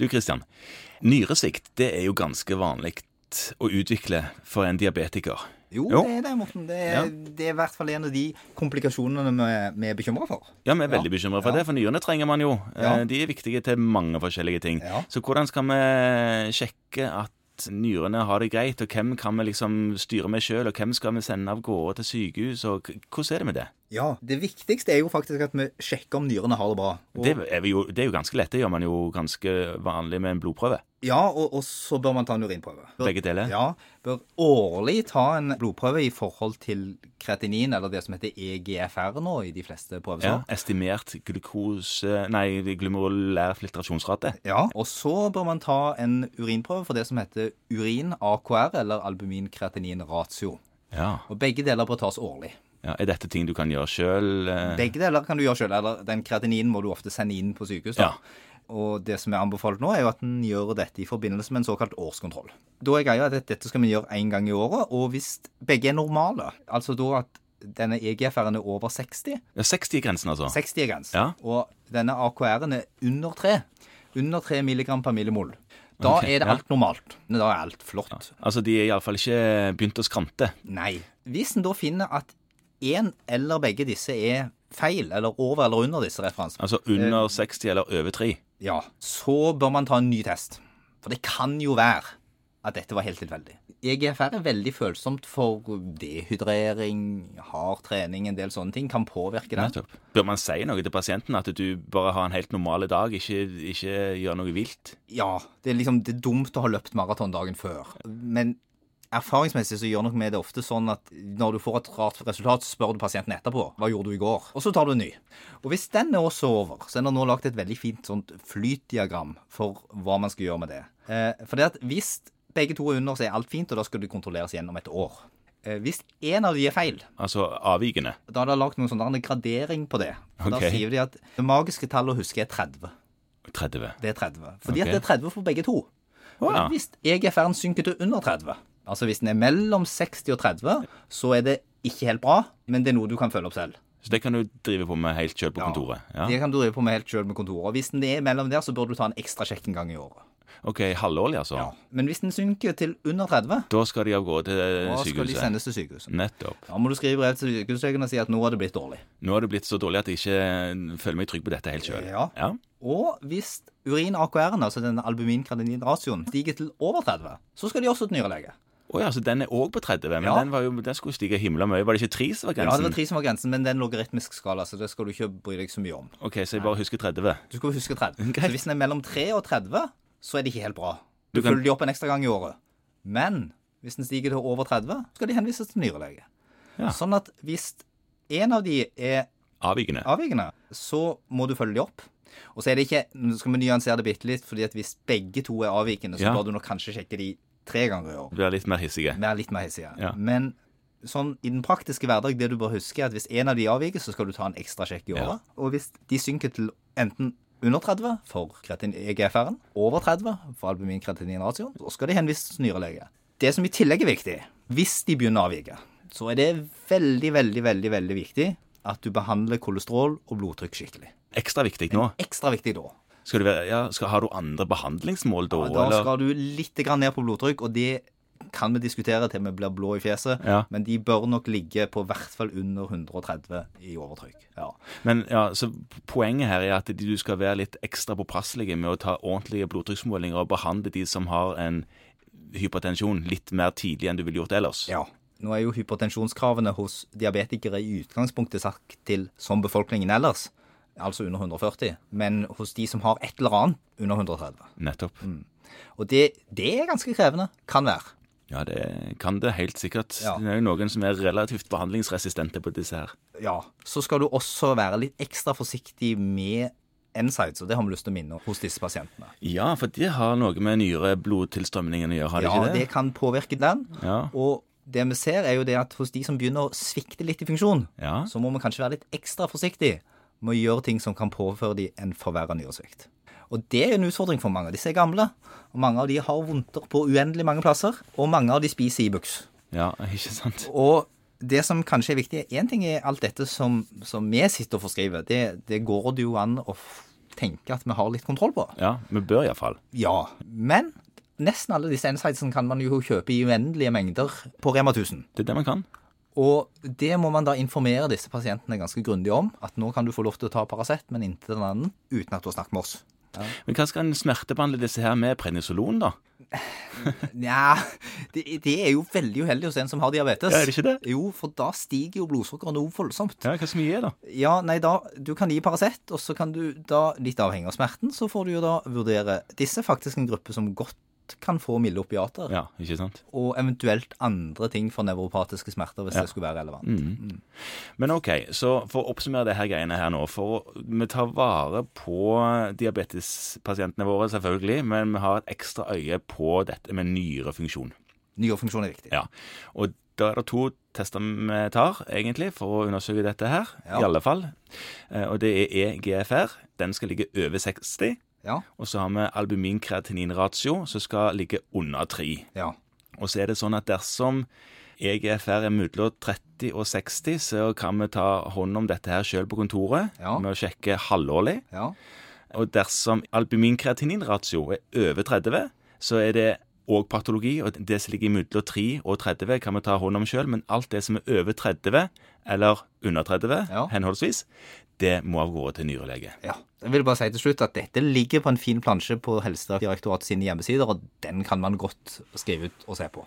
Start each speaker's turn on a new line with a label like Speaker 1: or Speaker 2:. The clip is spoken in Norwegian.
Speaker 1: Du Christian, nyresvikt det er jo ganske vanlig å utvikle for en diabetiker.
Speaker 2: Jo,
Speaker 1: Jo.
Speaker 2: det er det, Morten. Det er,
Speaker 1: Ja.
Speaker 2: det er i hvert fall en av de komplikasjonene vi, vi er bekymra for.
Speaker 1: Ja, vi er veldig bekymra for
Speaker 2: Ja.
Speaker 1: det, for nyrene trenger man jo.
Speaker 2: Ja.
Speaker 1: Eh, De er viktige til mange forskjellige ting.
Speaker 2: Ja.
Speaker 1: Så hvordan skal vi sjekke at nyrene har det greit, og hvem kan vi liksom styre med sjøl, og hvem skal vi sende av gårde til sykehus, og k- hvordan er det med det?
Speaker 2: Ja, Det viktigste er jo faktisk at vi sjekker om nyrene har det bra. Og,
Speaker 1: Det er, vi jo, det er jo ganske lett, det gjør man jo ganske vanlig med en blodprøve.
Speaker 2: Ja, og, og så bør man ta en urinprøve. Bør,
Speaker 1: Begge deler.
Speaker 2: Ja, bør årlig ta en blodprøve i forhold til kreatinin, eller det som heter E EGFR nå i de fleste
Speaker 1: Ja,
Speaker 2: prøveslag.
Speaker 1: estimert glukose... Nei, glumolær filtrasjonsrate.
Speaker 2: Ja, og så bør man ta en urinprøve for det som heter urin AKR, eller albumin-kreatinin ratio.
Speaker 1: Ja.
Speaker 2: Og begge deler bør tas årlig.
Speaker 1: ja. Er dette ting du kan gjøre sjøl?
Speaker 2: Begge deler kan du gjøre sjøl, eller den kreatinin må du ofte sende inn på sykehus. da.
Speaker 1: Ja.
Speaker 2: Og det som er anbefalt nå, er jo at en gjør dette i forbindelse med en såkalt årskontroll. Da er greia at dette skal vi gjøre én gang i året, og hvis begge er normale, altså da at denne E EGFR-en er over 60,
Speaker 1: Ja, 60-grensen, altså.
Speaker 2: 60 er grensen,
Speaker 1: Ja.
Speaker 2: og denne AKR-en er under 3, under 3 milligram per millimol, da
Speaker 1: Ok,
Speaker 2: er det
Speaker 1: ja.
Speaker 2: alt normalt. Da er alt flott.
Speaker 1: Altså, de er iallfall ikke begynt å skrante.
Speaker 2: Nei. Hvis en da finner at én eller begge disse er feil, eller over eller under disse referansene,
Speaker 1: Altså under 60 eller over 3.
Speaker 2: Ja, så bør man ta en ny test. For det kan jo være at dette var helt tilfeldig. EGFR er veldig følsomt for dehydrering, hard trening, en del sånne ting kan påvirke den.
Speaker 1: Nettopp. Bør man si noe til pasienten at du bare har en helt normal dag, ikke, ikke gjør noe vilt?
Speaker 2: Ja, det er liksom det er dumt å ha løpt maraton dagen før. Men erfaringsmessig så gjør nok vi det ofte sånn at når du får et rart resultat, så spør du pasienten etterpå hva gjorde du i går, og så tar du en ny. Og hvis den er også over, så er det nå lagt et veldig fint sånt flytdiagram for hva man skal gjøre med det. Eh, for det at hvis begge to er under, så er alt fint, og da skal det kontrolleres igjen om et år. Eh, hvis én av de er feil,
Speaker 1: Altså avvikende.
Speaker 2: da er det lagt noen sånn gradering på det. For
Speaker 1: Ok.
Speaker 2: Da sier de at det magiske tallet å huske er 30.
Speaker 1: 30.
Speaker 2: Det er 30. Fordi
Speaker 1: Ok.
Speaker 2: at det er 30 for begge to.
Speaker 1: Å, ja.
Speaker 2: Men Hvis EGFR-en synker til under 30, altså hvis den er mellom 60 og 30, så er det ikke helt bra, men det er noe du kan følge opp selv.
Speaker 1: Så det kan du drive på med helt sjøl på kontoret.
Speaker 2: Det
Speaker 1: Ja.
Speaker 2: kan du drive på med helt sjøl med kontoret. Og Hvis den er mellom der, så bør du ta en ekstra sjekk en gang i året.
Speaker 1: OK, halvårlig, altså.
Speaker 2: Men hvis den synker til under 30,
Speaker 1: Da skal de av gårde til
Speaker 2: da skal de
Speaker 1: sykehuset.
Speaker 2: sendes til sykehuset.
Speaker 1: Nettopp.
Speaker 2: Da må du skrive brev til sykehuslegen og si at nå har det blitt dårlig.
Speaker 1: Nå har det blitt så dårlig at jeg ikke mm, føler meg trygg på dette helt sjøl.
Speaker 2: Ja.
Speaker 1: Ja.
Speaker 2: Og hvis urin-AKR-en, altså denne albumin-kradinin-rasioen, stiger til over 30, så skal de også til nyrelege.
Speaker 1: Å ja, så den er òg på 30, men
Speaker 2: Ja.
Speaker 1: den, var jo, den skulle stige himla mye. Var det ikke 3 som var
Speaker 2: Ja, det
Speaker 1: grensen?
Speaker 2: var tre som var grensen, men det er en logaritmisk skala, så det skal du ikke bry deg så mye om.
Speaker 1: OK, så jeg bare husker 30.
Speaker 2: Du skal huske 30.
Speaker 1: Greit.
Speaker 2: Så hvis den er mellom 3 og 30, så er det ikke helt bra. Du,
Speaker 1: Du kan-
Speaker 2: følger de opp en ekstra gang i året. Men hvis den stiger til over 30, skal de henvises til nyrelege.
Speaker 1: Ja.
Speaker 2: Sånn at hvis en av de er
Speaker 1: Avvikende.
Speaker 2: avvikende, så må du følge de opp. Og så er det ikke Nå skal vi nyansere det bitte litt, fordi at hvis begge to er avvikende, så
Speaker 1: Ja.
Speaker 2: bør du nok kanskje sjekke de tre ganger i år.
Speaker 1: Blir litt mer hissige.
Speaker 2: Være litt mer hissige.
Speaker 1: Ja.
Speaker 2: Men sånn i den praktiske hverdag, det du bør huske, er at hvis en av de avviker, så skal du ta en ekstra sjekk i
Speaker 1: Ja.
Speaker 2: året. Og hvis de synker til enten under 30 for kreatin EGFR-en, over 30 for albumin-kreatinin-ratioen, så skal de henvises til nyrelege. Det som i tillegg er viktig, hvis de begynner å avvike, så er det veldig, veldig, veldig, veldig viktig at du behandler kolesterol og blodtrykk skikkelig.
Speaker 1: Ekstra viktig nå.
Speaker 2: Ekstra viktig da.
Speaker 1: Skal du være, ja, skal, har du andre behandlingsmål da?
Speaker 2: Da
Speaker 1: eller?
Speaker 2: skal du litt grann ned på blodtrykk, og det kan vi diskutere til vi blir blå i fjeset,
Speaker 1: Ja.
Speaker 2: men de bør nok ligge på hvert fall under 130 i overtrykk. Ja.
Speaker 1: Men ja, så Poenget her er at du skal være litt ekstra påpasselige med å ta ordentlige blodtrykksmålinger og behandle de som har en hypertensjon litt mer tidlig enn du ville gjort ellers.
Speaker 2: ja. Nå er jo hypertensjonskravene hos diabetikere i utgangspunktet sagt til som befolkningen ellers, altså under 140, men hos de som har et eller annet under 130.
Speaker 1: Nettopp.
Speaker 2: Mm. Og det, det er ganske krevende. Kan være.
Speaker 1: Ja, det kan det helt sikkert.
Speaker 2: Ja.
Speaker 1: Det er jo noen som er relativt behandlingsresistente på disse her.
Speaker 2: Ja. Så skal du også være litt ekstra forsiktig med NSIDES, og det har vi lyst til å minne om hos disse pasientene.
Speaker 1: Ja, for det har noe med nyreblodtilstrømningen å gjøre, har det
Speaker 2: ja,
Speaker 1: ikke det?
Speaker 2: det kan påvirke den.
Speaker 1: Ja.
Speaker 2: Og det vi ser, er jo det at hos de som begynner å svikte litt i funksjon,
Speaker 1: Ja.
Speaker 2: så må vi kanskje være litt ekstra forsiktige med å gjøre ting som kan påføre de en forverra nyresvikt. Og det er en utfordring for mange. Disse er gamle, og mange av de har vondter på uendelig mange plasser, og mange av de spiser Ibux.
Speaker 1: ja, ikke sant?
Speaker 2: Og det som kanskje er viktig, én ting er alt dette som, som vi sitter og forskriver. Det, det går det jo an å f- tenker at vi har litt kontroll på.
Speaker 1: Ja, vi bør iallfall.
Speaker 2: Ja. Men nesten alle disse insightsene kan man jo kjøpe i uendelige mengder på Rema 1000.
Speaker 1: Det er det man kan.
Speaker 2: Og det må man da informere disse pasientene ganske grundig om. At nå kan du få lov til å ta Paracet, men inntil den andre, uten at du har snakket med oss.
Speaker 1: Men hva skal en smertebehandle disse her med? Prednisolon, da?
Speaker 2: Nja, det, det er jo veldig uheldig hos en som har diabetes.
Speaker 1: Ja, er det ikke det?
Speaker 2: Jo, for da stiger jo blodsukkeret noe voldsomt.
Speaker 1: Ja, hva skal vi gi, da?
Speaker 2: Ja, nei da, du kan gi Paracet, og så kan du da, litt avhengig av smerten, så får du jo da vurdere Disse er faktisk en gruppe som godt kan få milde opiater.
Speaker 1: Ja, ikke sant?
Speaker 2: og eventuelt andre ting for nevropatiske smerter, hvis det skulle være relevant.
Speaker 1: Men OK, så for å oppsummere det her greiene her nå for å- Vi tar vare på diabetespasientene våre, selvfølgelig, men vi har et ekstra øye på dette med nyrefunksjon.
Speaker 2: Nyrefunksjon er viktig.
Speaker 1: Ja. Og da er det to tester vi tar, egentlig, for å undersøke dette her.
Speaker 2: Ja.
Speaker 1: I alle fall. Eh, Og det er EGFR. Den skal ligge over 60.
Speaker 2: Ja.
Speaker 1: Og så har vi albumin-kreatinin-ratio, som skal ligge under 3.
Speaker 2: ja.
Speaker 1: Og så er det sånn at dersom EGFR er mellom 30 og 60, så kan vi ta hånd om dette her sjøl på kontoret
Speaker 2: Ja.
Speaker 1: med å sjekke halvårlig.
Speaker 2: ja.
Speaker 1: Og dersom albumin-kreatinin-ratio er over 30, så er det òg patologi. Og det som ligger mellom 3 og 30, kan vi ta hånd om sjøl. Men alt det som er over 30, eller under 30
Speaker 2: Ja.
Speaker 1: henholdsvis, det må av gårde til nyrelege.
Speaker 2: ja. Jeg vil bare si til slutt at dette ligger på en fin plansje på Helsedirektoratet sine hjemmesider, og den kan man godt skrive ut og se på.